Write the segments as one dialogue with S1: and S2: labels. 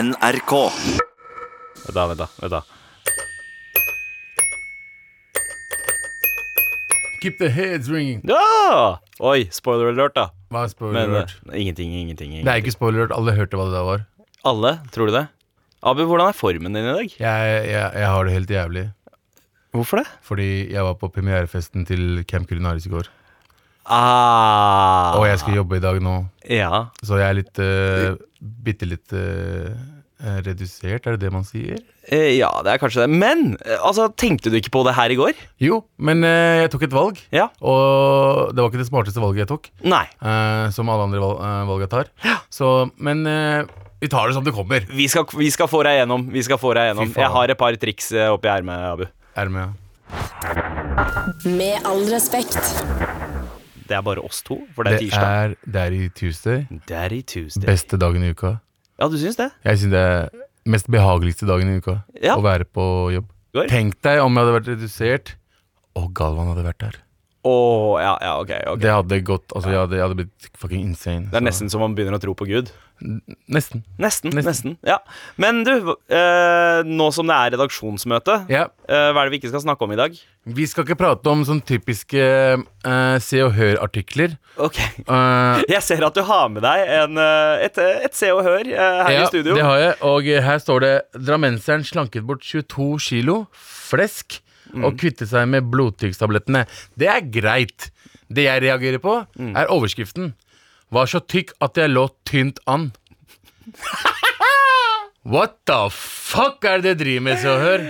S1: NRK.
S2: Vent da, vent da, vent da.
S3: Keep the heads ringing.
S2: Ja! Oi, spoiler alert, da.
S3: Hva er spoiler
S2: Men
S3: alert?
S2: eh, ingenting, ingenting.
S3: Det
S2: ingenting.
S3: er ikke spoiler alert. Alle hørte hva det der var.
S2: Alle, tror du det? Abu, hvordan er formen din i dag?
S3: Jeg, jeg, jeg har det helt jævlig.
S2: Hvorfor det?
S3: Fordi jeg var på premierefesten til Camp Culinaris i går.
S2: Ah,
S3: Og jeg skal jobbe i dag nå.
S2: Ja.
S3: Så jeg er litt uh, Bitte litt eh, redusert, er det det man sier?
S2: Eh, ja, det er kanskje det. Men eh, altså, tenkte du ikke på det her i går?
S3: Jo, men eh, jeg tok et valg.
S2: Ja.
S3: Og det var ikke det smarteste valget jeg tok.
S2: Nei.
S3: eh, som alle andre valg, eh, valg jeg tar. Så, men eh, vi tar det som det kommer.
S2: Vi skal, vi skal få deg gjennom. Vi skal få deg gjennom.
S3: Fy faen.
S2: Jeg har et par triks eh, oppi ermet, Abu.
S3: Er du med?
S4: Med all respekt.
S2: Det er bare oss to, for det
S3: Det
S2: er tirsdag.
S3: er Daddy Tuesday.
S2: Daddy Tuesday.
S3: Beste dagen i uka.
S2: Ja, du syns det?
S3: Jeg syns det er mest behageligste dagen i uka
S2: Ja.
S3: å være på jobb.
S2: Går.
S3: Tenk deg om jeg hadde vært redusert, og Galvan hadde vært der.
S2: Å, ja, ja, ok. ok.
S3: Det hadde gått Altså, jeg hadde, jeg hadde blitt fucking insane.
S2: Det er
S3: så-
S2: nesten som man begynner å tro på Gud.
S3: Nesten.
S2: Nesten. nesten,
S3: Nesten.
S2: ja Men du, eh, nå som det er redaksjonsmøte,
S3: Ja.
S2: eh, hva er det vi ikke skal snakke om i dag?
S3: Vi skal ikke prate om sånn typiske eh, Se og Hør-artikler.
S2: Ok
S3: Eh,
S2: Jeg ser at du har med deg en, eh, et, et Se og Hør eh, her i studio.
S3: det har jeg. Og her står det 'Drammenseren slanket bort 22 kilo flesk'
S2: Mm.
S3: og kvittet seg med blodtykkstablettene. Det er greit. Det jeg reagerer på,
S2: Mm.
S3: er overskriften. 'Var så tykk at jeg lå tynt an'. What the fuck er det dere driver med, Se og Hør?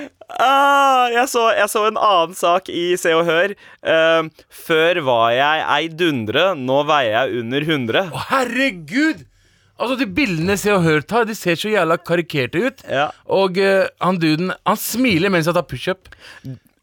S2: Ah, jeg, så, jeg så en annen sak i Se og Hør. Eh, før var jeg ei dundre, nå veier jeg under 100.
S3: Å, herregud! Altså, de bildene Se og Hør tar, de ser så jævla karikerte ut.
S2: Ja.
S3: Og eh, han duden, han smiler mens han tar pushup.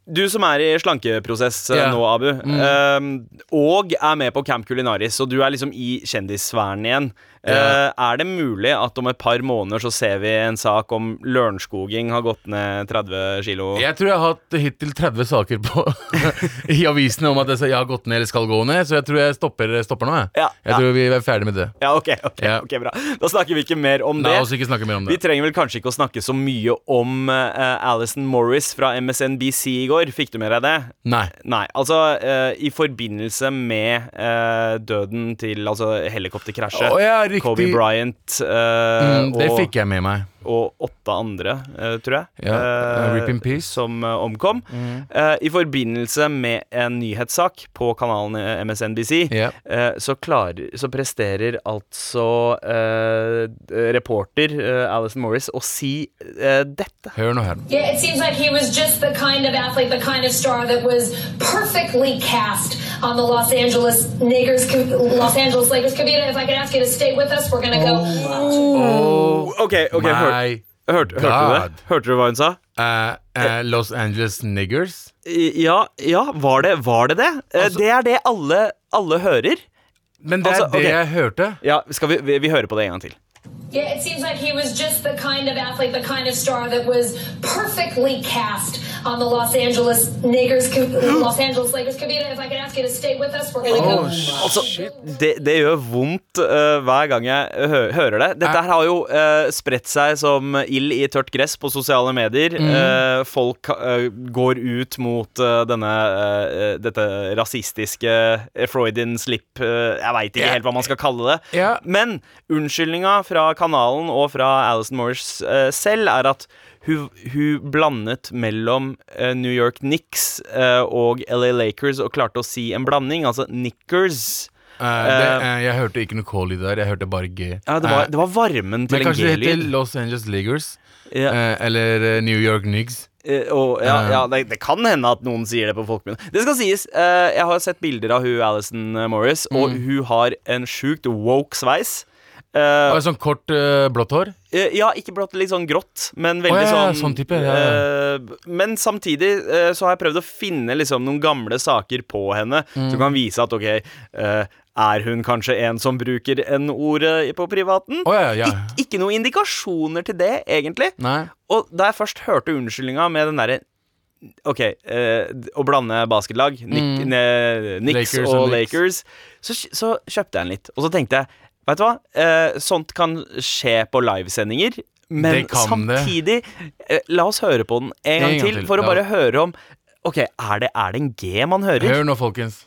S2: Du som er i slankeprosess eh,
S3: Ja. Mm.
S2: nå, Abu, eh, og er med på Camp Culinaris, så du er liksom i kjendissfæren igjen. Eh, er det mulig at om et par måneder så ser vi en sak om Lørenskoging har gått ned 30 kilo?
S3: Jeg tror jeg har hatt hittil 30 saker på i avisene om at jeg sa- jeg har gått ned eller skal gå ned, så jeg tror jeg stopper, stopper nå. Jeg,
S2: Ja,
S3: jeg
S2: ja.
S3: tror vi er ferdig med det.
S2: Ja, ok, ok,
S3: Ja.
S2: ok, bra. Da snakker vi ikke mer om
S3: La
S2: det.
S3: oss ikke snakke mer om
S2: Vi
S3: det.
S2: trenger vel kanskje ikke å snakke så mye om eh, Alison Morris fra MSNBC i går. Fikk du med deg det?
S3: Nei.
S2: Nei, altså eh, i forbindelse med eh, døden til altså helikopterkrasjet
S3: Å, ja, riktig.
S2: Kobe Bryant eh,
S3: Mm, det
S2: og,
S3: fikk jeg med meg.
S2: og åtte andre, eh, tror jeg,
S3: Ja,
S2: eh,
S3: rip in peace. Mm.
S2: som eh, omkom. Eh, I forbindelse med en nyhetssak på kanalen eh, MSNBC,
S3: Ja.
S2: eh, så, klarer, så presterer altså eh, reporter eh, Alison Morris å si eh, dette.
S3: Hør nå her.
S5: Yeah, it seems like he was just the kind of athlete, the kind of star that was perfectly cast on the Los Angeles Lakers, Los Angeles Lakers. Kavita, if I could ask you to stay with us, we're going to go.
S2: Oh. OK, ok, hør,
S3: Oh
S2: hørte,
S3: My
S2: hørte du
S3: God.
S2: det? Hørte du hva hun sa?
S3: eh, eh, Los Angeles niggers.
S2: Ja, ja var, det, var det det? Eh, det er det alle, alle hører.
S3: Men det er
S2: Altså, ok.
S3: det jeg hørte.
S2: Ja, skal vi, vi, vi hører på det en gang til.
S5: Yeah, it seems like he was just the kind of athlete, the kind of star that was perfectly cast on the Los Angeles Lakers, Los Angeles Lakers. Kavita, if I could ask you to stay with us, we're going to go.
S2: Altså, det, det gjør vondt eh, hver gang jeg hø hører det. Dette her har jo eh, spredt seg som ild i tørt gress på sosiale medier. Eh, folk eh, går ut mot eh, denne, eh, dette rasistiske Freudian slip eh, Jeg veit ikke
S3: Ja.
S2: helt hva man skal kalle det.
S3: Ja.
S2: Men unnskyldninga fra kanalen og fra Alison Morris eh, selv er at hun, hun blandet mellom eh, New York Knicks eh, og LA Lakers og klarte å si en blanding, altså Nickers.
S3: Eh, det, eh, jeg hørte ikke noe call i det der. Jeg hørte bare G.
S2: Ja, det
S3: Eh,
S2: var, det var varmen
S3: men
S2: til en
S3: kanskje det heter
S2: G-lyd.
S3: Los Angeles Niggers
S2: Ja.
S3: eller eh, New York Niggs.
S2: Eh, og- Ja, ja, det, det kan hende at noen sier det på folkemunne. Det skal sies, eh, jeg har sett bilder av hun Alison Morris, og hun har en sjukt woke sveis. Eh,
S3: Og sånn kort eh, blått hår.
S2: Eh, Ja, ikke blått, litt sånn grått, men veldig
S3: Å, ja, ja,
S2: sånn
S3: sånn type, ja, ja.
S2: eh, Men samtidig eh, så har jeg prøvd å finne liksom noen gamle saker på henne
S3: Mm.
S2: som kan vise at ok eh, Er hun kanskje en som bruker N-ordet på privaten?
S3: Å, ja, ja.
S2: Ik ikke noen indikasjoner til det, egentlig.
S3: Nei.
S2: Og da jeg først hørte unnskyldninga med den derre OK, eh, å blande basketlag, Nick, ne, Knicks
S3: Lakers
S2: og
S3: og Knicks.
S2: Lakers, så, kj- så kjøpte jeg den litt. Og så tenkte jeg Vet du hva? Eh, sånt kan skje på livesendinger. Men
S3: Det kan det.
S2: samtidig eh, La oss høre på den en gang, til, for å
S3: la
S2: bare
S3: oss-
S2: høre om Ok, er det, er det en G man hører?
S3: Hør nå, folkens.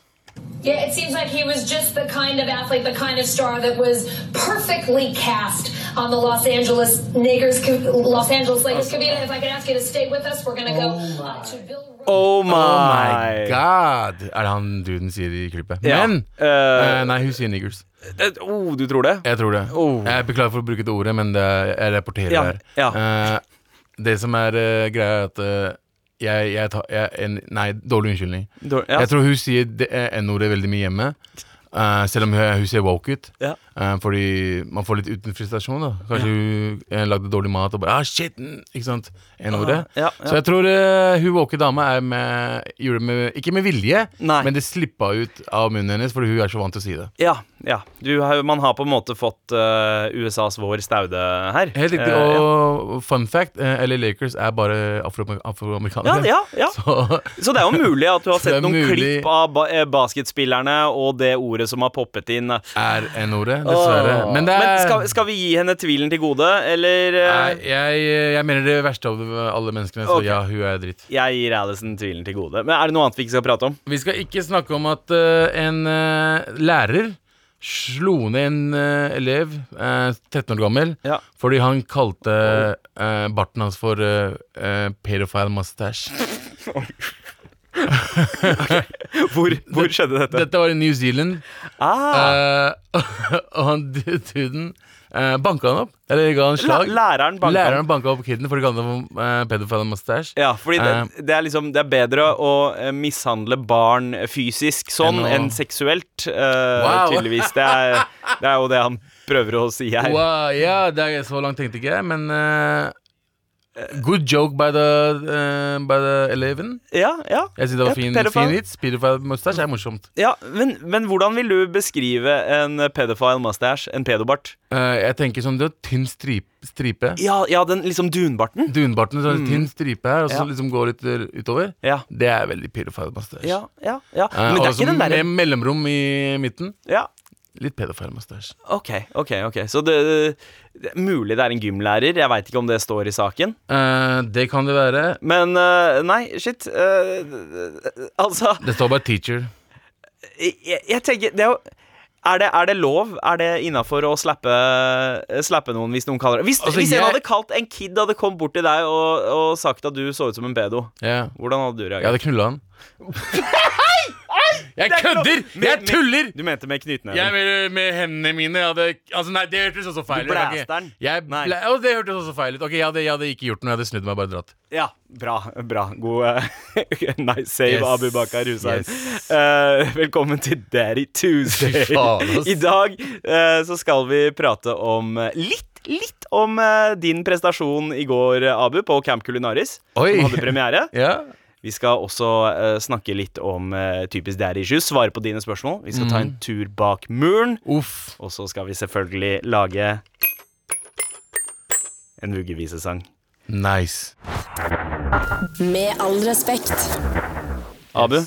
S5: Yeah, it seems like he was just the kind of athlete, the kind of star that was perfectly cast on the Los Angeles Lakers. Los Angeles Lakers. Kavita, if I could ask you to stay with us, we're going to go uh, to Bill. Ro-
S2: Oh my,
S3: My God! Er det han duden sier i klippet?
S2: Ja.
S3: Men
S2: Eh,
S3: eh, Nei, hun sier niggers.
S2: eh, oh, du tror det?
S3: Jeg tror det.
S2: Oh.
S3: Jeg beklager for å bruke det ordet, men det, jeg rapporterer
S2: Ja,
S3: her.
S2: ja.
S3: Eh, det som er eh, greia, er at eh, jeg, jeg tar jeg, en, Nei, dårlig unnskyldning.
S2: Dår- ja.
S3: Jeg tror hun sier det- eh, N-ordet veldig mye hjemme. eh, selv om hun, hun ser woke ut.
S2: Ja.
S3: Eh, fordi man får litt uten frustrasjon. da Kanskje hun eh, lagde dårlig mat og bare ah, shit, mm», Ikke sant? N-ordet.
S2: Ah, ja, ja.
S3: Så jeg tror eh, hun woke dama er med, gjorde det med Ikke med vilje,
S2: Nei.
S3: men det slippa ut av munnen hennes fordi hun er så vant til å si det.
S2: Ja. ja. Du, har- man har på en måte fått eh, USAs vår staude her.
S3: Helt riktig.
S2: Eh, ja.
S3: og fun fact, eh, LA Lakers er bare afroamer- afroamerikanere.
S2: Ja, ja, ja.
S3: Så
S2: Så det er jo mulig at du har
S3: Så det
S2: sett
S3: er
S2: noen
S3: mulig-
S2: klipp av ba eh, basketspillerne og det ordet som har poppet inn.
S3: er N-ordet, dessverre.
S2: Åh.
S3: Men det er
S2: Men skal, skal vi gi henne tvilen til gode, eller eh,
S3: Nei, jeg, jeg mener det verste av alle menneskene, så
S2: Ok.
S3: ja, hun er dritt.
S2: Jeg gir Alison tvilen til gode. Men er det noe annet vi ikke skal prate om?
S3: Vi skal ikke snakke om at eh, en eh, lærer slo ned en eh, elev, eh, 13 år gammel,
S2: Ja.
S3: fordi han kalte eh, barten hans for uh, pedophile mustache.
S2: Hvor, hvor skjedde dette?
S3: Dette var i New Zealand.
S2: ah,
S3: Eh, og han duden uh, banka han opp. Eller ga han slag.
S2: Læ- læreren banka han.
S3: Læreren banka opp kiden for å kalle ham uh, pedophile mustache.
S2: ja, fordi det,
S3: eh,
S2: det er liksom Det er bedre å eh, mishandle barn fysisk sånn
S3: Enn å-
S2: enn seksuelt, eh,
S3: Wow.
S2: tydeligvis. Det er, det er jo det han prøver å si her.
S3: Wow, ja, det er så langt tenkte ikke jeg, men eh, Good joke by the, uh, by the eleven.
S2: Ja, ja.
S3: Jeg synes det var
S2: Ja,
S3: fin,
S2: pedophile.
S3: fin vits. Pedophile mustache er morsomt.
S2: ja men, men hvordan vil du beskrive en pedophile mustache? En pedobart?
S3: Eh, jeg tenker sånn, du har tynn strip, stripe.
S2: Ja, ja, den liksom dunbarten?
S3: Dunbarten, så har du tynn stripe her, og så
S2: Ja.
S3: liksom går litt eh, utover.
S2: Ja.
S3: Det er veldig pedophile mustache.
S2: Ja, ja, ja.
S3: Eh,
S2: Men det
S3: og
S2: er
S3: så
S2: ikke den derre
S3: Med mellomrom i midten.
S2: ja.
S3: Litt pedophile mustache.
S2: Ok, ok, ok. Så det, det er mulig det er en gymlærer. Jeg veit ikke om det står i saken.
S3: Eh, det kan det være.
S2: Men eh, nei, shit. eh, altså
S3: Det står bare 'teacher'.
S2: jeg, jeg tenker det er, jo, er, det, er det lov? Er det innafor å slappe, slappe noen hvis noen kaller det Hvis,
S3: Altså,
S2: hvis en
S3: jeg-
S2: hadde kalt en kid hadde kommet bort til deg og, og sagt at du så ut som en pedo,
S3: Ja.
S2: hvordan hadde du
S3: Jeg
S2: reagert?
S3: hadde knulla han. Jeg kødder! Jeg tuller!
S2: Du mente med
S3: Jeg
S2: knyttneven?
S3: med, med hendene mine jeg hadde, altså Nei, det hørtes også feil ut.
S2: Du
S3: Jeg kan ikke-
S2: blæste den.
S3: Jeg
S2: Nei.
S3: blæ, å, det hørtes også feil ut. Ok, jeg hadde, jeg hadde ikke gjort noe. Jeg hadde snudd meg og bare dratt.
S2: Ja, bra. bra God eh, Nice save,
S3: Yes,
S2: Abu Bakar Hussein.
S3: yes.
S2: Eh, velkommen til Daddy Tuesday.
S3: Fy faen, ass.
S2: I dag eh, så skal vi prate om eh, litt, litt om eh, din prestasjon i går, eh, Abu, på Camp Culinaris.
S3: Oi.
S2: Som hadde premiere.
S3: Ja.
S2: Vi skal også eh, snakke litt om eh, typisk daddy issues, svare på dine spørsmål. Vi skal ta
S3: Mm.
S2: en tur bak muren.
S3: Uff.
S2: Og så skal vi selvfølgelig lage en vuggevisesang.
S3: Nice.
S1: Med all respekt.
S2: Abu,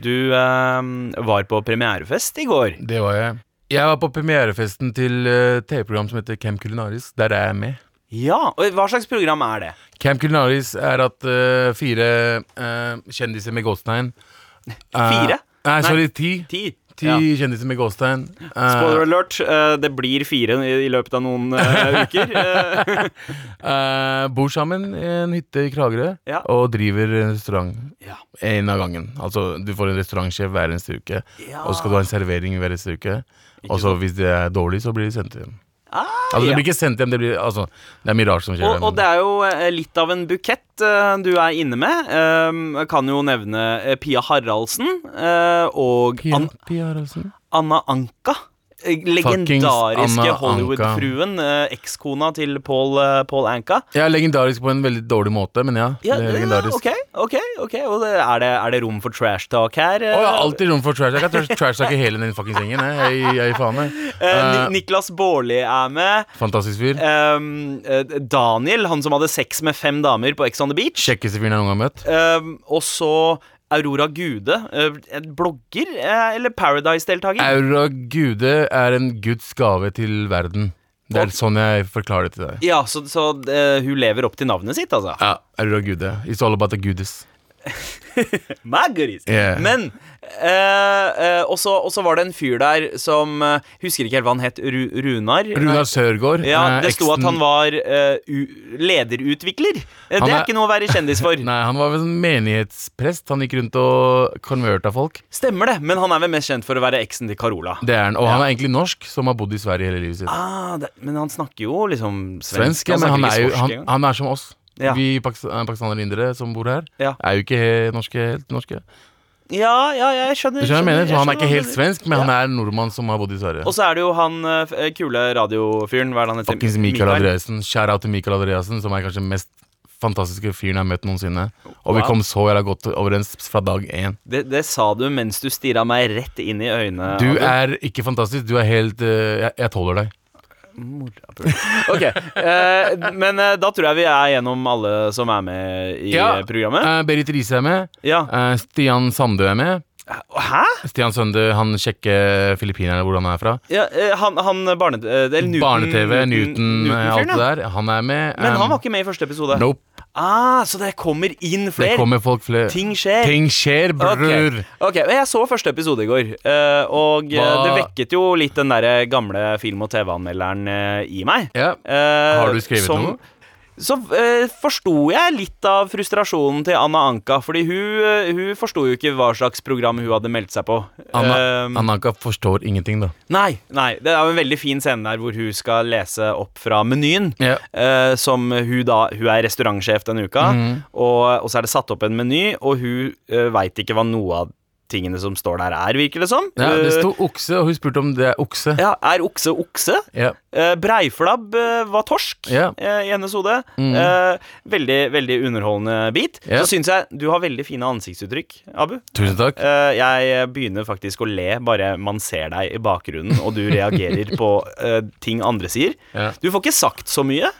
S2: du ehm, var på premierefest i går.
S3: Det var jeg. Jeg var på premierefesten til eh, TV-program som heter Camp Culinaris. Der er jeg med.
S2: Ja, og Hva slags program er det?
S3: Camp Culinaris er at eh, fire eh, kjendiser med gåstegn eh,
S2: Fire?
S3: Nei,
S2: Nei.
S3: sorry, ti. Ti,
S2: Ti? Ja.
S3: kjendiser med gåstegn. Eh,
S2: Spoiler alert, eh, det blir fire i, i løpet av noen eh, uker. Eh,
S3: eh, bor sammen i en hytte i Kragerø
S2: Ja.
S3: og driver en restaurant
S2: ja.
S3: en av gangen. Altså, du får en restaurantsjef hver eneste uke,
S2: Ja.
S3: og så skal du ha en servering hver eneste uke. Og så hvis det er dårlig, så blir de sendt hjem.
S2: Ah,
S3: Altså, det
S2: ja.
S3: blir ikke sendt hjem, det blir Altså, det er mye rart som skjer.
S2: Og, og det er jo eh, litt av en bukett eh, du er inne med. Ehm, Jeg kan jo nevne eh, Pia Haraldsen eh, og
S3: Pia,
S2: An
S3: Pia Haraldsen.
S2: Anna Anka. Eh, Legendariske
S3: Anna
S2: Hollywood-fruen. eh, Ekskona til Paul, eh, Paul Anka.
S3: Jeg er legendarisk på en veldig dårlig måte, men ja.
S2: Ja,
S3: det er
S2: ja,
S3: legendarisk.
S2: ok, ok, ok Og det, er, det, er det rom for trash talk her?
S3: Å, jeg har alltid rom for trash. Jeg kan trash- trash talke hele den fuckings gjengen. jeg. Jeg jeg gir faen meg.
S2: Eh, Ni-
S3: Eh,
S2: Niklas Baarli er med.
S3: fantastisk fyr.
S2: Ehm, eh, Daniel, han som hadde sex med fem damer på Ex on the Beach.
S3: Kjekkeste fyren jeg noen gang har møtt.
S2: Ehm, og så Aurora Gude, eh, en blogger eh, eller Paradise-deltaker?
S3: Aura Gude er en guds gave til verden. Det er sånn jeg forklarer det til deg.
S2: Ja, så, så eh, hun lever opp til navnet sitt, altså.
S3: Ja, Aurora Gude. It's all about the goodies.
S2: Margaris.
S3: Yeah.
S2: Men eh, eh, Og så og så var det en fyr der som eh, Husker ikke helt hva han het. Ru Runar?
S3: Runar Sørgaard.
S2: Ja,
S3: eh,
S2: Det sto at
S3: eksen-
S2: han var eh, u lederutvikler. Eh,
S3: Han
S2: det er
S3: er-
S2: ikke noe å være kjendis for.
S3: Nei, han var vel en menighetsprest. Han gikk rundt og konverta folk.
S2: Stemmer det, men han er vel mest kjent for å være eksen til Carola.
S3: Det er han. Og han er egentlig norsk, som har bodd i Sverige hele livet sitt.
S2: Ah, det, men han snakker jo liksom
S3: Svensk,
S2: svensk.
S3: ja, men han
S2: snakker
S3: er jo
S2: ikke
S3: han,
S2: svorsk engang.
S3: han er som oss.
S2: Ja.
S3: Vi paks- eh, pakistanere indere som bor her,
S2: Ja.
S3: er jo ikke he- norske, helt norske.
S2: ja, ja, ja, jeg skjønner.
S3: Du skjønner hva jeg mener? Så
S2: jeg
S3: han er
S2: skjønner
S3: ikke
S2: hva
S3: helt
S2: du-
S3: svensk, men
S2: Ja.
S3: han er en nordmann som har bodd i Sverige.
S2: Og så er det jo han eh, f- eh, kule radiofyren. Hva er det han heter?
S3: Fuckings Mikael Andreassen. Shout out til Mikael Andreassen, som er kanskje den mest fantastiske fyren jeg har møtt noensinne. Og vi
S2: Wow.
S3: kom så jævla godt overens fra dag én.
S2: Det, det sa du mens du stirra meg rett inn i øynene.
S3: Du
S2: Abu.
S3: er ikke fantastisk, du er helt eh, jeg, jeg tåler deg.
S2: Ok, eh, men eh, da tror jeg vi er gjennom alle som er med i eh, programmet.
S3: eh, Berit Riise er med.
S2: Ja.
S3: Eh, Stian Sandø er med.
S2: Hæ?
S3: Stian Sandø, han sjekker filippinerne hvor han er fra.
S2: Ja, eh, han han barne... eh, eller Newton-
S3: Barne-TV, Newton, eh,
S2: Newton-fyren,
S3: alt det
S2: ja.
S3: der. Han er med.
S2: Men han
S3: um,
S2: var ikke med i første episode.
S3: Nope.
S2: Ah, så det kommer inn
S3: Det
S2: flere.
S3: kommer folk flere.
S2: Ting skjer.
S3: Ting skjer,
S2: Ok.
S3: bror.
S2: ok, men Jeg så første episode i går, eh, og eh,
S3: Hva-
S2: det vekket jo litt den der gamle film- og TV-anmelderen eh, i meg.
S3: Ja.
S2: Eh,
S3: Har du skrevet noe?
S2: Så eh, forsto jeg litt av frustrasjonen til Anna Anka, fordi hun, eh, hun forsto jo ikke hva slags program hun hadde meldt seg på.
S3: Anna,
S2: Eh,
S3: Ananka forstår ingenting, da.
S2: Nei, nei, det er jo en veldig fin scene der hvor hun skal lese opp fra menyen.
S3: Ja.
S2: eh, som hun da Hun er restaurantsjef denne uka,
S3: Mhm.
S2: og, og så er det satt opp en meny, og hun uh, veit ikke hva noe av tingene som står der, er, virker det som.
S3: Ja, det
S2: Eh,
S3: sto okse, og hun spurte om det er okse.
S2: ja, Er okse okse?
S3: Ja.
S2: Eh, Breiflabb eh, var torsk
S3: Ja. Mm.
S2: eh, i hennes hode. Eh, veldig veldig underholdende bit.
S3: Ja.
S2: Så syns jeg du har veldig fine ansiktsuttrykk, Abu.
S3: Tusen takk.
S2: Eh, jeg begynner faktisk å le bare man ser deg i bakgrunnen, og du reagerer på eh, ting andre sier.
S3: Ja.
S2: Du får ikke sagt så mye.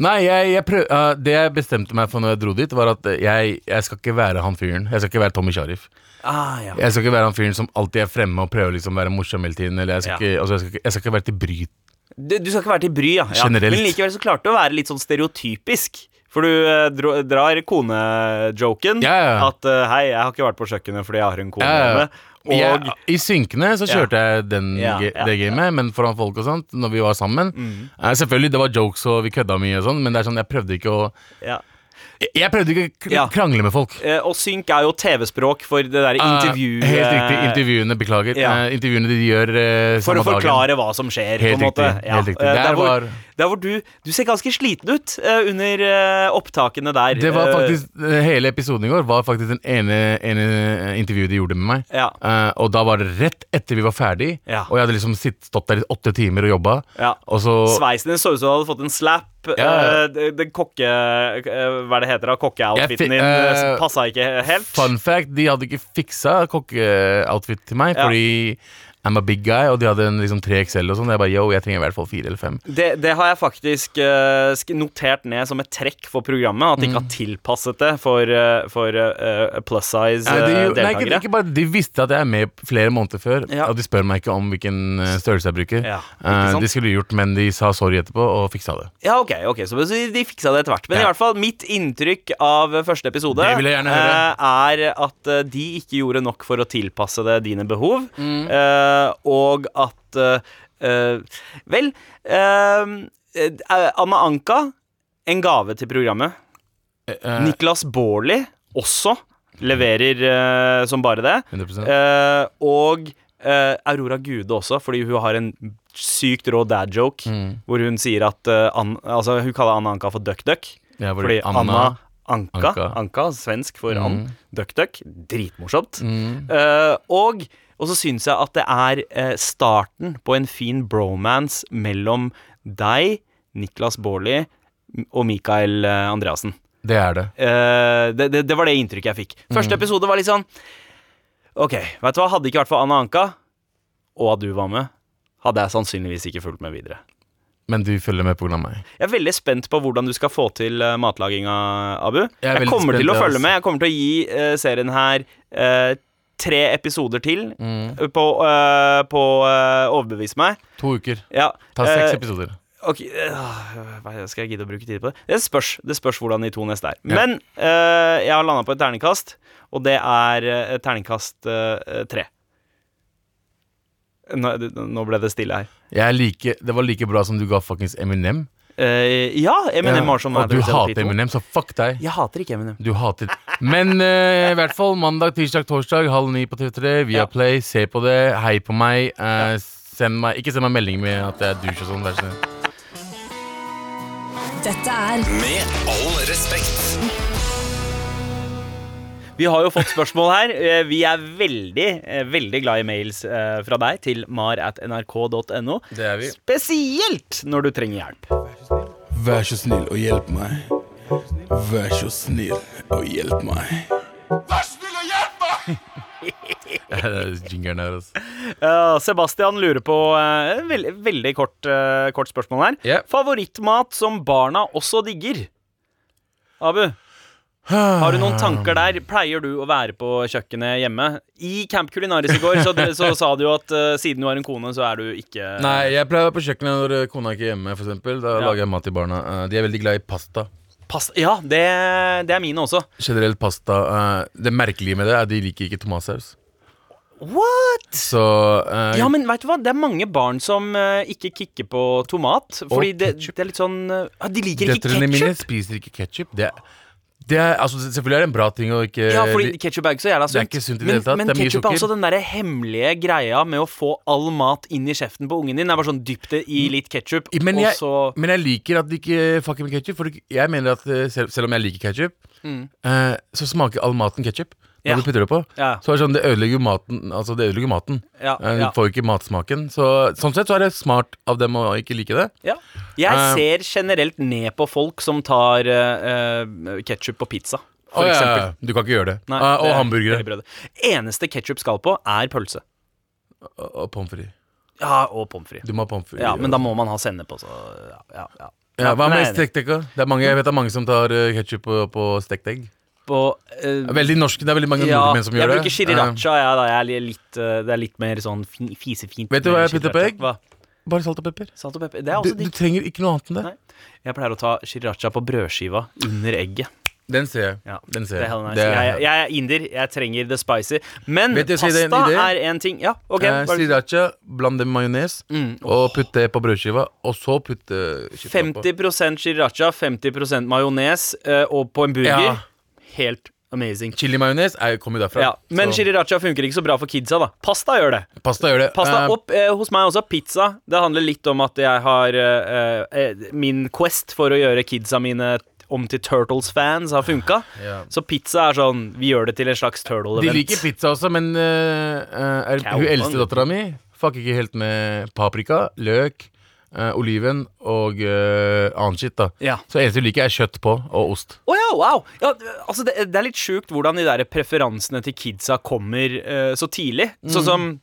S3: Nei, jeg, jeg prøv, eh, det jeg bestemte meg for når jeg dro dit, var at eh, jeg, jeg skal ikke være han fyren. Jeg skal ikke være Tommy Sharif.
S2: Ah, ja.
S3: Jeg skal ikke være han fyren som alltid er fremme og prøver liksom å være morsom hele tiden. Eller jeg
S2: Ja.
S3: skal, ikke, altså, jeg, skal ikke, jeg skal ikke være til bry.
S2: du, du skal ikke være til bry, ja. ja.
S3: Generelt.
S2: Men likevel så klarte du å være litt sånn stereotypisk. For du eh, dro, drar kone-joken.
S3: Ja, ja.
S2: At eh, 'hei, jeg har ikke vært på kjøkkenet fordi jeg har en kone
S3: Ja, ja.
S2: hjemme'. Og
S3: jeg, I synkene så kjørte jeg den,
S2: Ja,
S3: ge-
S2: ja, Mm.
S3: det
S2: ja.
S3: gamet, men foran folk og sånt, når vi var sammen Eh, Selvfølgelig, det var jokes og vi kødda mye og sånn, men det er sånn, jeg prøvde ikke å
S2: ja.
S3: Jeg, jeg prøvde ikke å kr-
S2: Ja.
S3: krangle med folk.
S2: Eh, og synk er jo TV-språk for det der intervjuet.
S3: Eh, helt riktig. Intervjuene, beklager.
S2: ja.
S3: Eh, intervjuene de gjør eh,
S2: For å
S3: samme
S2: forklare hva som skjer.
S3: Helt
S2: på en måte.
S3: riktig, helt riktig.
S2: eh,
S3: Der
S2: Der hvor,
S3: var-
S2: der hvor du, du ser ganske sliten ut eh, under eh, opptakene der.
S3: dagen. Det var
S2: Eh,
S3: faktisk, eh, hele episoden i går var faktisk den ene, ene intervjuet de gjorde med meg.
S2: Ja.
S3: Eh, og da var det rett etter vi var ferdig,
S2: Ja.
S3: og jeg hadde liksom sitt, stått der i åtte timer og jobba,
S2: Ja.
S3: og så
S2: Sveisen din så ut som du hadde fått en slap. eh,
S3: ja.
S2: det- Den kokke... eh, Hva er det heter da?
S3: Jeg fi-
S2: Kokkeoutfiten din uh,
S3: eh,
S2: passa ikke helt.
S3: Fun fact, de hadde ikke fiksa kokkeoutfit til meg,
S2: Ja.
S3: fordi I'm a big guy, og de hadde en liksom 3XL og sånn. Jeg bare, yo, jeg trenger i hvert fall fire eller fem.
S2: Det, det har jeg faktisk eh, sk- notert ned som et trekk for programmet. At de ikke har tilpasset det for, eh, for eh, plus size
S3: Mm. Nei, de,
S2: eh,
S3: nei, ikke,
S2: deltakere.
S3: ikke bare, de visste at jeg er med flere måneder før,
S2: Ja.
S3: og de spør meg ikke om hvilken eh, størrelse jeg bruker.
S2: Ja,
S3: Eh,
S2: ikke sant?
S3: de skulle gjort, men de sa sorry etterpå, og fiksa det.
S2: Ja, ok, ok, så de, de fiksa det etter hvert. Men
S3: Ja.
S2: i hvert fall, mitt inntrykk av første episode
S3: Det vil jeg gjerne høre.
S2: eh, er at eh, de ikke gjorde nok for å tilpasse det dine behov,
S3: Mm.
S2: eh, og at eh, eh, Vel eh, eh, Anna Anka, en gave til programmet.
S3: Eh,
S2: Niklas Baarli også leverer eh, som bare det.
S3: 100%.
S2: Eh, og eh, Aurora Gude også, fordi hun har en sykt rå dad joke
S3: Mm.
S2: hvor hun sier at eh, Ann- altså, Hun kaller Anna Anka for Duck Duck.
S3: Ja, hvor
S2: fordi
S3: Anna-
S2: Anna, Anka, Anka,
S3: Anka. Mm.
S2: svensk for Ann Duck Duck. Dritmorsomt. Eh, og og så syns jeg at det er eh, starten på en fin bromance mellom deg, Niklas Baarli og Mikael eh, Andreassen.
S3: det er det.
S2: Eh, det, det, det var det inntrykket jeg fikk.
S3: Mm.
S2: Første episode var litt sånn Ok, vet du hva, hadde det ikke vært for Anna Anka og at du var med, hadde jeg sannsynligvis ikke fulgt med videre.
S3: men du følger med på programmet.
S2: Jeg er veldig spent på hvordan du skal få til uh, matlaginga, Abu. Jeg,
S3: er veldig
S2: kommer til
S3: spent,
S2: å
S3: jeg
S2: følge
S3: også.
S2: med. Jeg kommer til å gi eh, serien her eh, tre episoder til
S3: Mm.
S2: på, eh, på eh, Overbevis meg.
S3: To uker.
S2: Ja.
S3: Ta seks
S2: eh,
S3: episoder.
S2: Ok, øh, hva- Skal jeg gidde å bruke tid på det? Det spørs, det spørs hvordan de to neste er. Men øh, jeg har landa på et terningkast, og det er øh, terningkast øh, tre. Nå, det- nå ble det stille her.
S3: Jeg er like, det var like bra som du ga fuckings Eminem.
S2: Eh, ja, Eminem var sånn.
S3: og du
S2: Adams L P
S3: hater
S2: to.
S3: Eminem, så fuck deg.
S2: Jeg hater ikke Eminem.
S3: Du hater Men eh, i hvert fall mandag, tirsdag, torsdag halv ni på TV3. Via
S2: Ja.
S3: Play. Se på det. Hei på meg. eh, Send meg Ikke send meg melding med at jeg er douche og sånn. Vær så snill.
S1: Dette er
S4: Med all respekt.
S2: Vi har jo fått spørsmål her. Eh, Vi er veldig eh, veldig glad i mails eh, fra deg til mar at nrk.no.
S3: Det er vi.
S2: Spesielt når du trenger hjelp.
S6: Vær så snill og hjelp meg. Vær så snill og hjelp meg.
S3: Jingeren her, altså.
S2: Ja, Sebastian lurer på eh, en veld, Veldig kort, eh, kort spørsmål her.
S3: Ja.
S2: Favorittmat som barna også digger? Abu, har du noen tanker der? Pleier du å være på kjøkkenet hjemme? I Camp Culinaris i går så, så sa du jo at eh, siden du har en kone, så er du ikke
S3: Nei, jeg pleier å være på kjøkkenet når eh, kona ikke er hjemme, for eksempel Da
S2: Ja.
S3: lager jeg mat til barna. Eh, de er veldig glad i pasta.
S2: Pasta. Ja, det, det er mine også.
S3: Generelt pasta. eh, det merkelige med det er at de liker ikke tomatsaus.
S2: What?
S3: Så eh,
S2: Ja, men vet du hva? Det er mange barn som eh, ikke kikker på tomat. Fordi det,
S3: ketchup.
S2: det er litt sånn eh, ah, De liker ikke
S3: døtrene mine
S2: ketsjup.
S3: spiser ikke ketsjup. Det, er- det er altså, selvfølgelig er det en bra ting å ikke
S2: Ja, fordi ketsjup er ikke så jævla sunt.
S3: Eh, Det er ikke sunt i det hele tatt.
S2: Men,
S3: Det er
S2: men
S3: mye
S2: ketsjup er
S3: sukker.
S2: altså den derre hemmelige greia med å få all mat inn i kjeften på ungen din. Det er bare sånn dypp det i litt ketsjup,
S3: Mm. Men
S2: og
S3: jeg,
S2: så
S3: men jeg liker at de ikke fucker med ketsjup. For jeg mener at eh, selv, selv om jeg liker ketsjup, eh, så smaker all maten ketsjup. Når
S2: Mm. Ja.
S3: du putter det på.
S2: Ja.
S3: Så er det sånn, det ødelegger jo maten. Altså det ødelegger maten
S2: Ja,
S3: Eh, Du
S2: ja.
S3: får ikke matsmaken. Så, sånn sett så er det smart av dem å ikke like det.
S2: Ja. Jeg ser
S3: Eh.
S2: generelt ned på folk som tar uh, ketsjup på pizza, for
S3: Å, ja,
S2: eksempel.
S3: ja, ja. Du kan ikke gjøre det.
S2: Nei,
S3: Eh,
S2: det
S3: og
S2: er veldig
S3: hamburgere.
S2: bra det. Eneste ketsjup skal på, er pølse.
S3: Og, og pommes frites.
S2: Ja, og pommes frites.
S3: Du må ha pommes frites.
S2: Ja, men da må man ha sennep også. Ja, ja, ja.
S3: Ja, hva
S2: Nei,
S3: med stektegg? da? Det er mange, jeg vet det er mange som tar uh, ketsjup på, på stektegg.
S2: på, eh,
S3: Det er Veldig norske, det er veldig mange
S2: ja,
S3: nordmenn som gjør
S2: jeg
S3: det. Eh,
S2: bruker shiriracha, jeg, da. Jeg er litt, eh, det er litt mer sånn fi- fisefint.
S3: Vet du
S2: med
S3: hva jeg putter på
S2: sriracha.
S3: egg?
S2: Hva?
S3: Eh, bare salt og pepper.
S2: Salt og pepper. Det er
S3: Du,
S2: også
S3: du
S2: digg.
S3: trenger ikke noe annet enn det.
S2: Nei. Jeg pleier å ta shiriracha på brødskiva under egget.
S3: Den ser jeg.
S2: Ja,
S3: Den
S2: det er
S3: ser jeg.
S2: hella nice.
S3: Det er-
S2: jeg, jeg er inder, jeg trenger the spicy. Men
S3: Vet du,
S2: pasta
S3: så er det en idé?
S2: er en ting. Ja, ok.
S3: Eh,
S2: bare- Mm.
S3: Sriracha, bland det med majones, og putt det på brødskiva. Og så putt eh, kjøttdeig på.
S2: 50 shiriracha, 50 majones, eh, og på en burger.
S3: Ja.
S2: Helt amazing.
S3: Chili-majones er- kommer jo derfra.
S2: Ja, men
S3: så-
S2: shiriracha funker ikke så bra for kidsa, da. Pasta gjør det.
S3: Pasta gjør det.
S2: Pasta
S3: Eh,
S2: opp eh, hos meg også. Pizza. Det handler litt om at jeg har eh, eh, Min quest for å gjøre kidsa mine om til Turtles-fans har funka.
S3: Ja.
S2: Så pizza er sånn Vi gjør det til en slags
S3: De
S2: turtle-event.
S3: liker pizza også, men eh, eh, er, hun
S2: Cowbun.
S3: eldste dattera mi fucker ikke helt med paprika, løk, eh, oliven og eh, annen shit. da
S2: Ja.
S3: Så eneste hun liker, er kjøtt på og ost.
S2: Å ja, wow! Ja, altså det, det er litt sjukt hvordan de der preferansene til kidsa kommer eh, så tidlig.
S3: Mm.
S2: Sånn som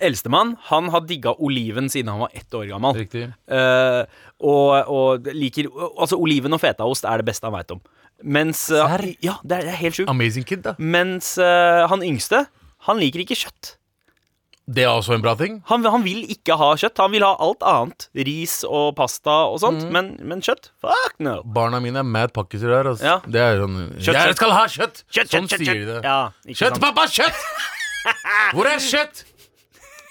S2: eldstemann, han har digga oliven siden han var ett år gammel.
S3: Riktig.
S2: Eh, og, og liker Altså, oliven og fetaost er det beste han veit om. Mens eh,
S3: Serr?
S2: Ja, det er, det er helt sjukt.
S3: Amazing kid, da.
S2: Mens eh, han yngste, han liker ikke kjøtt.
S3: Det er også en bra ting.
S2: Han, han vil ikke ha kjøtt. Han vil ha alt annet. Ris og pasta og sånt.
S3: Mm.
S2: Men, men kjøtt? Fuck no.
S3: Barna mine er mad pakkiser der. Altså.
S2: Ja.
S3: Det er sånn
S2: Kjøtt,
S3: Jeg
S2: kjøtt.
S3: skal ha kjøtt!
S2: Kjøtt,
S3: sånn
S2: kjøtt, kjøtt,
S3: sier
S2: kjøtt.
S3: de det.
S2: Ja, ikke
S3: kjøtt,
S2: sant.
S3: pappa! Kjøtt! Hvor er kjøtt?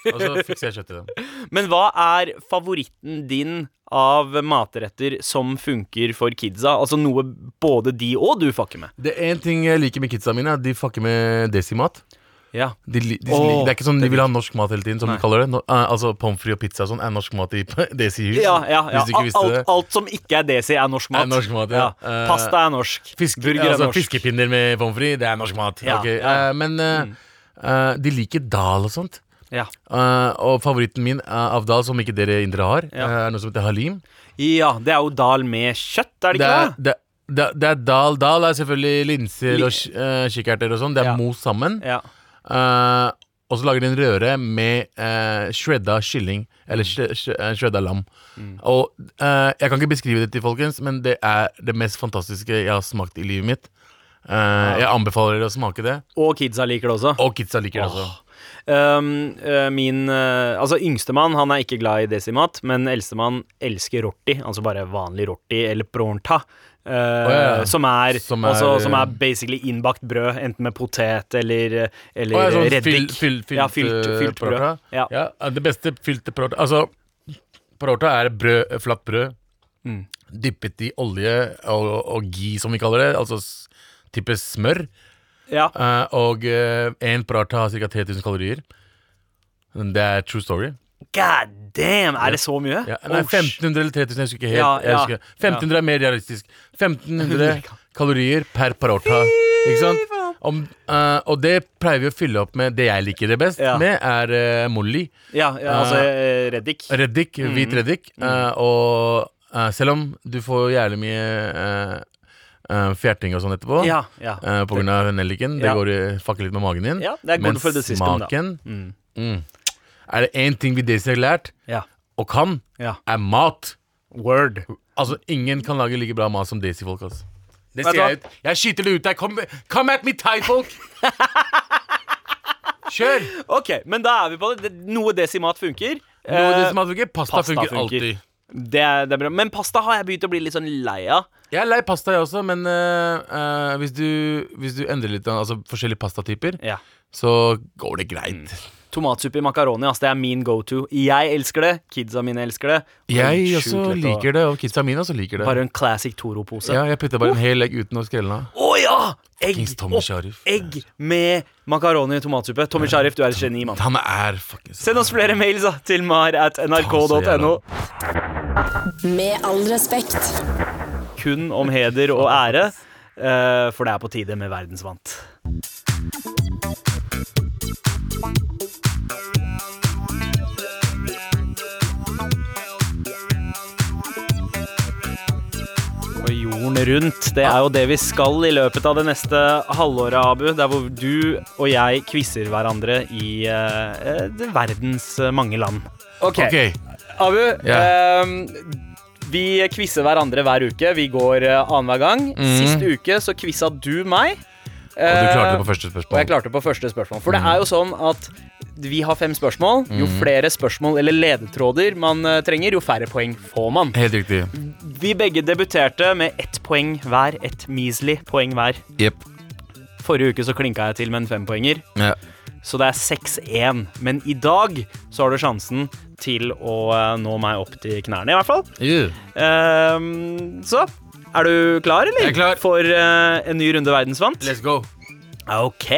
S3: Og så fikser jeg kjøtt til dem.
S2: Men hva er favoritten din av matretter som funker for kidsa? Altså noe både de og du fucker med.
S3: Det er én ting jeg liker med kidsa mine. er at De fucker med desimat.
S2: Ja.
S3: De, li- de,
S2: Åh,
S3: det er ikke sånn de vil ha norsk mat hele tiden, som
S2: Nei.
S3: de kaller det. No, eh, altså Pommes frites og pizza og sånn er norsk mat i desi-hus.
S2: Ja, ja, ja.
S3: Hvis du ikke visste
S2: Alt,
S3: det.
S2: alt som ikke er desi, er norsk mat.
S3: Er norsk mat, ja. Eh,
S2: Pasta er norsk.
S3: Fisk,
S2: Burger er
S3: altså,
S2: norsk.
S3: Fiskepinner med pommes frites, det er norsk mat.
S2: Ja,
S3: Ok,
S2: ja. Mm.
S3: eh, men eh, eh, de liker dal og sånt.
S2: Ja.
S3: Eh, og favoritten min eh, av dal, som ikke dere indere har,
S2: Ja.
S3: eh, er noe som heter halim.
S2: ja, det er jo dal med kjøtt, er det
S3: Det
S2: ikke
S3: er,
S2: det?
S3: det, det, det er dal. Dal er selvfølgelig linser eh,
S2: Li-
S3: og uh, kikkerter og sånn. Det er
S2: Ja.
S3: mos sammen.
S2: Ja.
S3: Eh, og så lager de en røre med eh, shredda kylling, eller sh sh eh, shredda lam. Og eh, jeg kan ikke beskrive det til folkens, men det er det mest fantastiske jeg har smakt i livet mitt. Eh, jeg anbefaler dere å smake det,
S2: Og kidsa liker det også.
S3: og kidsa liker det også.
S2: Um, Altså. eh, min eh, altså yngstemann han er ikke glad i desimat, men eldstemann elsker rorti. Altså bare vanlig rorti eller pronta. eh,
S3: ja, ja.
S2: Som, er,
S3: Som
S2: som,
S3: er,
S2: er, altså, som
S3: eh,
S2: er basically innbakt brød, enten med potet eller, eh, eller
S3: Å, ja, sånn fyll-
S2: reddik.
S3: fyll- fylt,
S2: ja, fylt,
S3: eh,
S2: fylt brød.
S3: paratha.
S2: Ja.
S3: Ja. eh, det beste fylte paratha Altså, paratha er brød, eh, flatt brød dyppet i olje og, og ghee, som vi kaller det. Altså s- type smør.
S2: Ja.
S3: Eh, og én paratha har ca. 3000 kalorier. Det er true story.
S2: God damn! Er det så mye?
S3: Ja, nei,
S2: Oh, shit.
S3: 1500 eller 3000, jeg husker ikke helt.
S2: Ja,
S3: jeg
S2: ja,
S3: husker. 1500 er mer realistisk. 1500 kalorier per parorta. Ikke sant? Om, eh, og det pleier vi å fylle opp med det jeg liker det best
S2: Ja.
S3: med, er eh, molly.
S2: ja, ja, altså eh, reddik.
S3: Reddik,
S2: Mm-hmm.
S3: hvit reddik. eh, og eh, selv om du får jævlig mye eh, eh, fjerting og sånn etterpå,
S2: Ja, ja.
S3: eh, på grunn av nelliken, det
S2: Ja.
S3: går i- fucker litt med magen din,
S2: Ja, det er
S3: men
S2: good for the system, da.
S3: smaken mm. Er det én ting vi Daisy har lært,
S2: Ja.
S3: og kan,
S2: Ja.
S3: er mat.
S2: Word.
S3: Altså, ingen kan lage like bra mat som Daisy-folk, altså.
S2: Vet
S3: Det ser
S2: du hva?
S3: jeg ut. Jeg skyter det ut der. Come, come at me, Thai-folk! Kjør!
S2: Ok, men da er vi på det. Det- Noe desimat funker.
S3: Noe av det
S2: Eh,
S3: som funker, pasta,
S2: pasta
S3: funker
S2: funker.
S3: alltid.
S2: det er, det er bra. Men pasta har jeg begynt å bli litt sånn lei av.
S3: Jeg er lei pasta, jeg også, men eh, eh, hvis, du, hvis du endrer litt altså forskjellige pastatyper,
S2: Ja. Mm.
S3: så går det greit.
S2: Tomatsuppe i makaroni, ass, det er min go to. Jeg elsker det, kidsa mine elsker det.
S3: Jeg også liker det, og kidsa mine også liker det.
S2: Bare en classic Toro-pose.
S3: ja, jeg putter bare en hel egg uten å skrelle den av.
S2: Å ja! Egg,
S3: Fuckings Tommy
S2: opp-
S3: Sharif.
S2: egg med makaroni og tomatsuppe. Tommy Sharif, du er et geni, mann.
S3: Han er fuckings
S2: Send oss flere mails da, til mar at nrk.no.
S1: Med all respekt.
S2: Kun om heder og ære, eh, for det er på tide med verdensvant. Og jorden rundt, det er jo det vi skal i løpet av det neste halvåret, Abu. Der hvor du og jeg quizer hverandre i eh, eh, verdens eh, mange land. Ok,
S3: Ok,
S2: Abu,
S3: Ja.
S2: ehm, vi quizer hverandre hver uke. Vi går uh, annenhver gang. Sist uke så quiza du meg. Eh,
S3: og du klarte det på første
S2: Og jeg
S3: spørsmål.
S2: klarte på første spørsmål. For det er jo sånn at vi har fem spørsmål. Jo flere spørsmål eller ledetråder man eh, trenger, jo færre poeng får man.
S3: Helt riktig.
S2: Vi begge debuterte med ett poeng hver. Ett measly poeng hver.
S3: Jepp.
S2: Forrige uke så klinka jeg til med en fempoenger,
S3: Ja.
S2: så det er 6-1. Men i dag så har du sjansen til å eh, nå meg opp til knærne, i hvert fall.
S3: Yeah.
S2: Ehm, så er du klar, eller?
S3: Jeg er klar.
S2: For eh, en ny runde verdensvant?
S3: Let's go.
S2: Ok.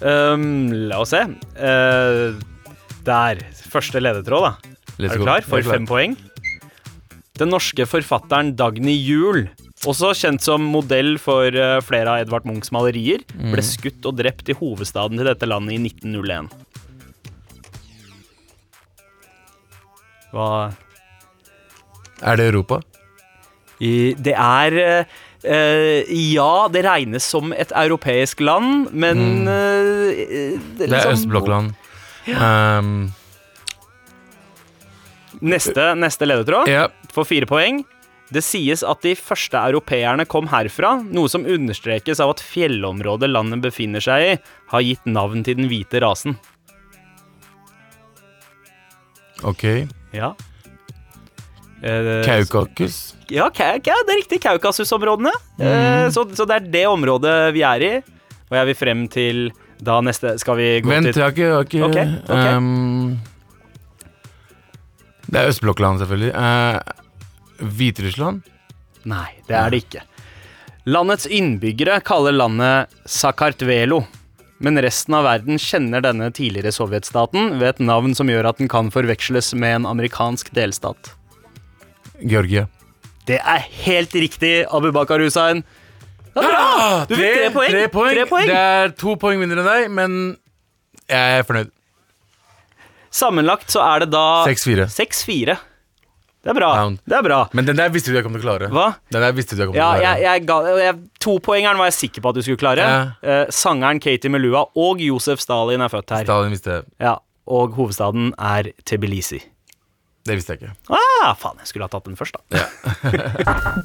S2: Ehm, la oss se. Eh, der. Første ledetråd, da.
S3: Let's
S2: er du
S3: go.
S2: klar for
S3: Jeg er klar.
S2: fem poeng? Den norske forfatteren Dagny Juel, også kjent som modell for eh, flere av Edvard Munchs malerier,
S3: Mm.
S2: ble skutt og drept i hovedstaden til dette landet i 1901. Hva
S3: Er det Europa?
S2: i, det er eh, eh, Ja, det regnes som et europeisk land, men eh, det,
S3: Mm. Det er
S2: liksom-
S3: østblokkland. Um,
S2: Neste, neste ledetråd
S3: ja.
S2: for fire poeng. Det sies at de første europeerne kom herfra, noe som understrekes av at fjellområdet landet befinner seg i, har gitt navn til den hvite rasen.
S3: Ok.
S2: Ja. Eh,
S3: Kaukakus.
S2: Ja, Ka- Ka- det er riktig. Kaukasusområdene.
S3: Mm.
S2: Eh, så, så det er det området vi er i. Og jeg vil frem til da neste Skal vi gå
S3: Vent,
S2: til
S3: jeg har ikke, jeg har ikke
S2: Ok, ok.
S3: ehm, Det er østblokkland, selvfølgelig. Eh, Hviterussland?
S2: Nei, det er det ikke. Landets innbyggere kaller landet Sakartvelo. Men resten av verden kjenner denne tidligere sovjetstaten ved et navn som gjør at den kan forveksles med en amerikansk delstat.
S3: Georgia.
S2: Det er helt riktig, Abubakar Hussein. Det er bra! Du fikk tre poeng.
S3: Ah, Tre poeng.
S2: Tre poeng.
S3: Det er to poeng mindre enn deg, men jeg er fornøyd.
S2: Sammenlagt så er det da
S3: 6-4.
S2: 6-4. Det er bra.
S3: Down.
S2: Det er bra.
S3: Men den der visste du jeg kom til å klare.
S2: Hva?
S3: Den der visste du jeg kom til
S2: Ja,
S3: å klare.
S2: jeg, jeg ga, jeg, topoengeren var jeg sikker på at du skulle klare. Eh, sangeren Katie Melua og Josef Stalin er født her.
S3: Da, den visste jeg.
S2: Ja, og hovedstaden er Tbilisi.
S3: Det visste jeg ikke.
S2: Ah, faen, jeg skulle ha tatt den først, da.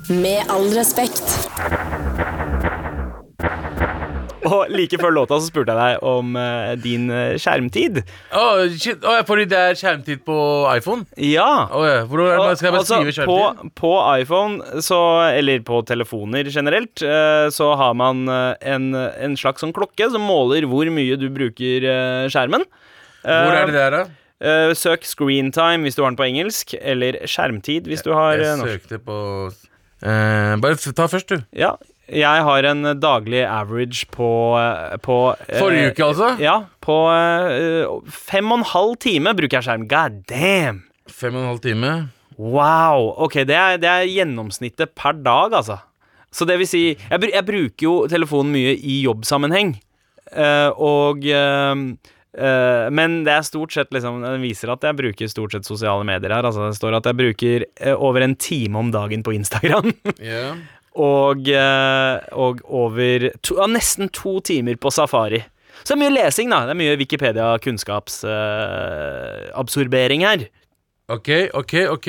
S1: Med all respekt.
S2: Og like før låta så spurte jeg deg om eh, din eh, skjermtid.
S3: Å, shit. Å, fordi det er skjermtid på iPhone?
S2: Ja.
S3: Å, ja. Hvordan er det? Skal jeg bare
S2: Altså,
S3: skrive skjermtid?
S2: På, på iPhone, så, eller på telefoner generelt, eh, så har man eh, en, en slags sånn klokke som måler hvor mye du bruker eh, skjermen.
S3: Hvor er det der, da?
S2: Eh, Søk screentime hvis du har den på engelsk, eller skjermtid hvis du har eh,
S3: Jeg
S2: norsk.
S3: søkte på eh, Bare f- ta først, du.
S2: Ja, jeg har en eh, daglig average på, eh, på eh,
S3: Forrige uke, altså.
S2: Ja, på eh, fem og en halv time bruker jeg skjerm. God damn!
S3: Fem og en halv time.
S2: Wow. Ok, det er, det er gjennomsnittet per dag, altså. Så det vil si Jeg, br jeg bruker jo telefonen mye i jobbsammenheng, eh, og eh, eh, men det er stort sett liksom Den viser at jeg bruker stort sett sosiale medier her. Altså Det står at jeg bruker eh, over en time om dagen på Instagram.
S3: Ja.
S2: og, eh, og over to, ja, nesten to timer på safari. Så det er mye lesing, da. Det er mye Wikipedia-kunnskapsabsorbering her.
S3: Ok, ok, ok.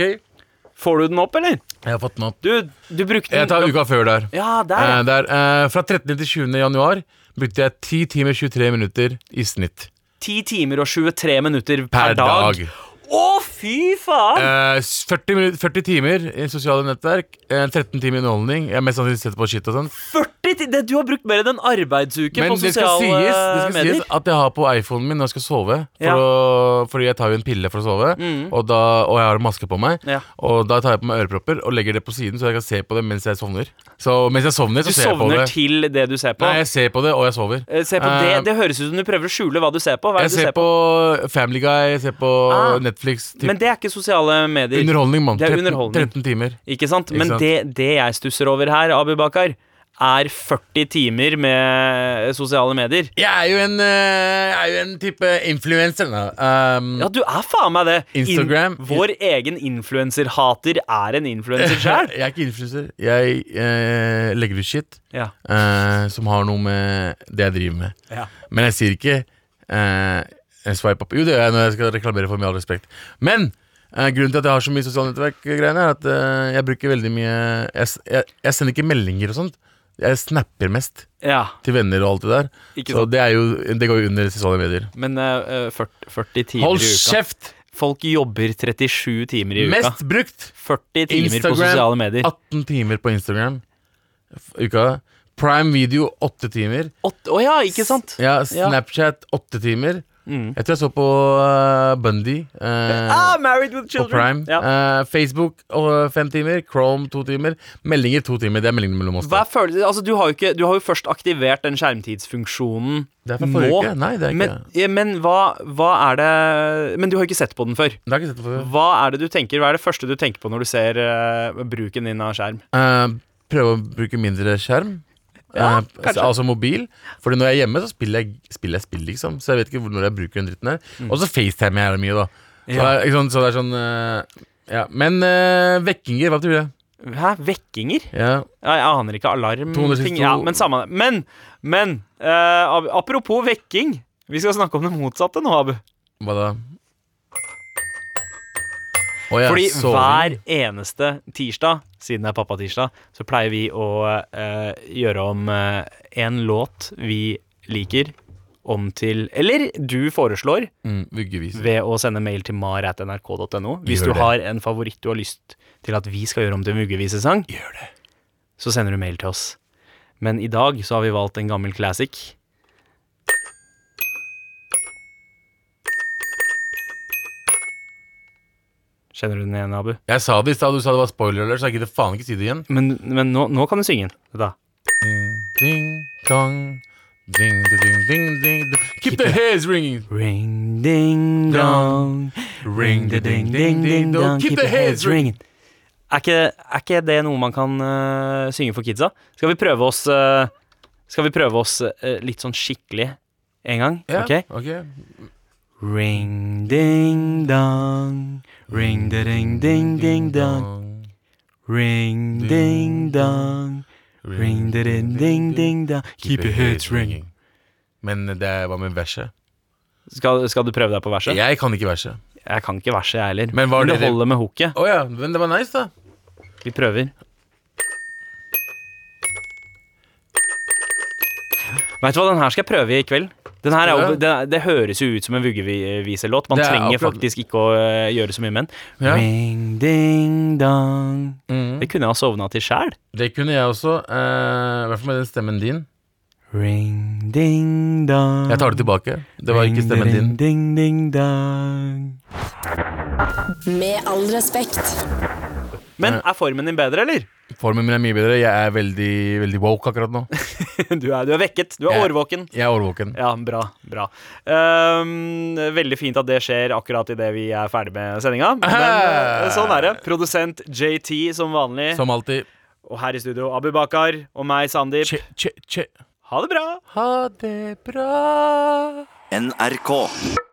S2: Får du den opp, eller?
S3: Jeg har fått den opp.
S2: Du, du brukte den
S3: Jeg tar uka før der.
S2: Ja, der,
S3: Eh,
S2: ja.
S3: der eh, fra 13. til 20. januar brukte jeg 10 timer 23 minutter i snitt.
S2: 10 timer og 23 minutter per,
S3: Per
S2: dag.
S3: dag.
S2: Å, fy faen!
S3: Eh, s- 40, minut- 40 timer i sosiale nettverk, eh, 13 timer underholdning. Jeg har mest sannsynlig sett på shit og sånn.
S2: 40 ti- det, Du har brukt mer enn en arbeidsuke
S3: Men
S2: på
S3: det skal,
S2: sosiale
S3: sies, det skal
S2: medier.
S3: sies at jeg har på iPhonen min når jeg skal sove. For
S2: Ja. Mm.
S3: å, fordi jeg tar jo en pille for å sove, og, da, og jeg har maske på meg.
S2: Ja.
S3: Og da tar jeg på meg ørepropper og legger det på siden, så jeg kan se på det mens jeg sovner. Så mens jeg sovner,
S2: Du
S3: så ser jeg på
S2: sovner
S3: det.
S2: til det du ser på.
S3: Nei, jeg ser på det, og jeg sover.
S2: Eh, Se på det. det høres ut som du prøver å skjule hva du ser på. Hva er
S3: Jeg
S2: det du
S3: ser på Family Guy, jeg ser på
S2: Ah.
S3: Netflix. Typ.
S2: Men det er ikke sosiale medier.
S3: underholdning, mann.
S2: Det er
S3: 13,
S2: underholdning.
S3: 13 timer.
S2: Ikke sant?
S3: Ikke
S2: Men
S3: sant?
S2: Det, det jeg stusser over her, Abubakar, er 40 timer med sosiale medier.
S3: Jeg er jo en, eh, jeg er jo en type influenser. da. Um,
S2: Ja, du er faen meg det.
S3: Instagram.
S2: vår egen influenserhater er en influenser sjøl.
S3: jeg er ikke influenser. Jeg eh, legger ut shit
S2: Ja.
S3: eh, som har noe med det jeg driver med.
S2: Ja.
S3: Men jeg sier ikke eh, swipe up. Jo, det gjør jeg når jeg skal reklamere for Med all respekt. Men eh, grunnen til at jeg har så mye sosiale nettverk-greiene, er at eh, jeg bruker veldig mye jeg, s- jeg, jeg sender ikke meldinger og sånt. Jeg snapper mest
S2: ja.
S3: til venner og alt det der.
S2: Ikke
S3: så
S2: sant.
S3: det, er jo, det går jo under sosiale medier.
S2: Men eh, eh, 40, 40 timer
S3: Hold
S2: i uka.
S3: kjeft!
S2: Folk jobber 37 timer i uka.
S3: Mest brukt!
S2: 40 timer på sosiale
S3: Instagram,
S2: medier.
S3: 18 timer på Instagram f- uka. Prime Video, 8 timer.
S2: Åtte- Å ja, ikke sant?
S3: Ja,
S2: Ja. Mm.
S3: Snapchat, 8 timer. Jeg tror jeg så på uh, Bundy eh,
S2: Ah, married with
S3: på
S2: children.
S3: Prime.
S2: Ja.
S3: Eh, Facebook, 5 timer. Chrome, 2 timer. Meldinger, 2 timer. Det er meldingene mellom oss.
S2: Hva er følelsen? Altså, du, har jo ikke, du har jo først aktivert den skjermtidsfunksjonen
S3: Det er fra forrige
S2: nå.
S3: uke. Nei, det er ikke
S2: men ja, men hva, hva er det Men du har jo ikke sett på den før.
S3: Det har jeg ikke sett på før.
S2: Hva er det du tenker, hva er det første du tenker på når du ser eh, bruken din av skjerm?
S3: Eh, prøve å bruke mindre skjerm.
S2: Ja,
S3: Eh,
S2: kanskje.
S3: altså mobil. Fordi når jeg er hjemme, så spiller jeg spiller, jeg spill, liksom. Så jeg vet ikke hvor- når jeg bruker den dritten her. Og så FaceTime jeg jævlig mye, da. Så,
S2: Mm. Ja.
S3: det er, ikke sant, så det er sånn eh, ja. Men eh, vekkinger, hva tror du det?
S2: Hæ, vekkinger?
S3: Ja.
S2: Ja, jeg aner ikke. Alarm
S3: 262.
S2: ting. Ja, men samme det. Men, men eh, ab- apropos vekking. Vi skal snakke om det motsatte nå, Abu.
S3: Hva da? Å, ja,
S2: Fordi
S3: soving.
S2: hver eneste tirsdag, siden det er pappatirsdag, så pleier vi å eh, gjøre om eh, en låt vi liker, om til Eller du foreslår,
S3: mm, Vuggevis.
S2: ved å sende mail til mar.nrk.no. Hvis du
S3: Gjør det.
S2: har en favoritt du har lyst til at vi skal gjøre om til en vuggevisesang, så sender du mail til oss. Men i dag så har vi valgt en gammel classic. Kjenner du den igjen, Abu?
S3: Jeg sa det i stad, du sa det var spoiler alert, så jeg gidder faen ikke si det igjen.
S2: Men, men nå, nå kan du synge den. Da.
S3: Ding, ding, dong. Ding, ding, ding, ding, ding. Keep the heads ringing.
S2: Ring ding dong,
S3: Ring, ding, ding, ding, ding, dong. Keep the heads ringing.
S2: Er ikke, er ikke det noe man kan øh, synge for kidsa? Skal vi prøve oss øh, eh, Skal vi prøve oss øh, litt sånn skikkelig en gang?
S3: Ja,
S2: Ok?
S3: ok
S2: Ring ding dong, ring da ding ding ding dong, ring ding dong, ring da ding ding ding dong. Keep your heads ringing.
S3: Men det er- hva med verset?
S2: Skal, skal du prøve deg på verset?
S3: Jeg kan ikke verset.
S2: Jeg kan ikke verset, jeg heller.
S3: Men hva er
S2: det
S3: det-
S2: holder med hooket.
S3: Å ja, men det var nice, da.
S2: Vi prøver. Veit du hva, den her skal jeg prøve i kveld. Den her er jo,
S3: Ja.
S2: det, det høres jo ut som en vuggeviselåt. Man
S3: Det er
S2: trenger
S3: akkurat-
S2: faktisk ikke å øh, gjøre så mye med den.
S3: Ja.
S2: Ring, ding, dong.
S3: Mhm.
S2: Det kunne jeg ha sovna til sjæl.
S3: Det kunne jeg også. eh, I hvert fall med den stemmen din.
S2: Ring, ding, dong.
S3: Jeg tar det tilbake. Det var ikke stemmen din.
S2: Ding, ding, dong.
S1: Med all respekt.
S2: Men er formen din bedre, eller?
S3: Formen min er mye bedre. Jeg er veldig, veldig woke akkurat nå.
S2: Du er, du er vekket. Du er
S3: Jeg-
S2: årvåken.
S3: Jeg er årvåken.
S2: Ja, bra. bra Ehm, Veldig fint at det skjer akkurat idet vi er ferdig med sendinga. Men eh, sånn er det. Produsent JT som vanlig.
S3: Som alltid.
S2: Og her i studio Abu Bakar og meg, Sandeep.
S3: Che, che, che.
S2: Ha det bra!
S3: Ha det bra.
S7: NRK.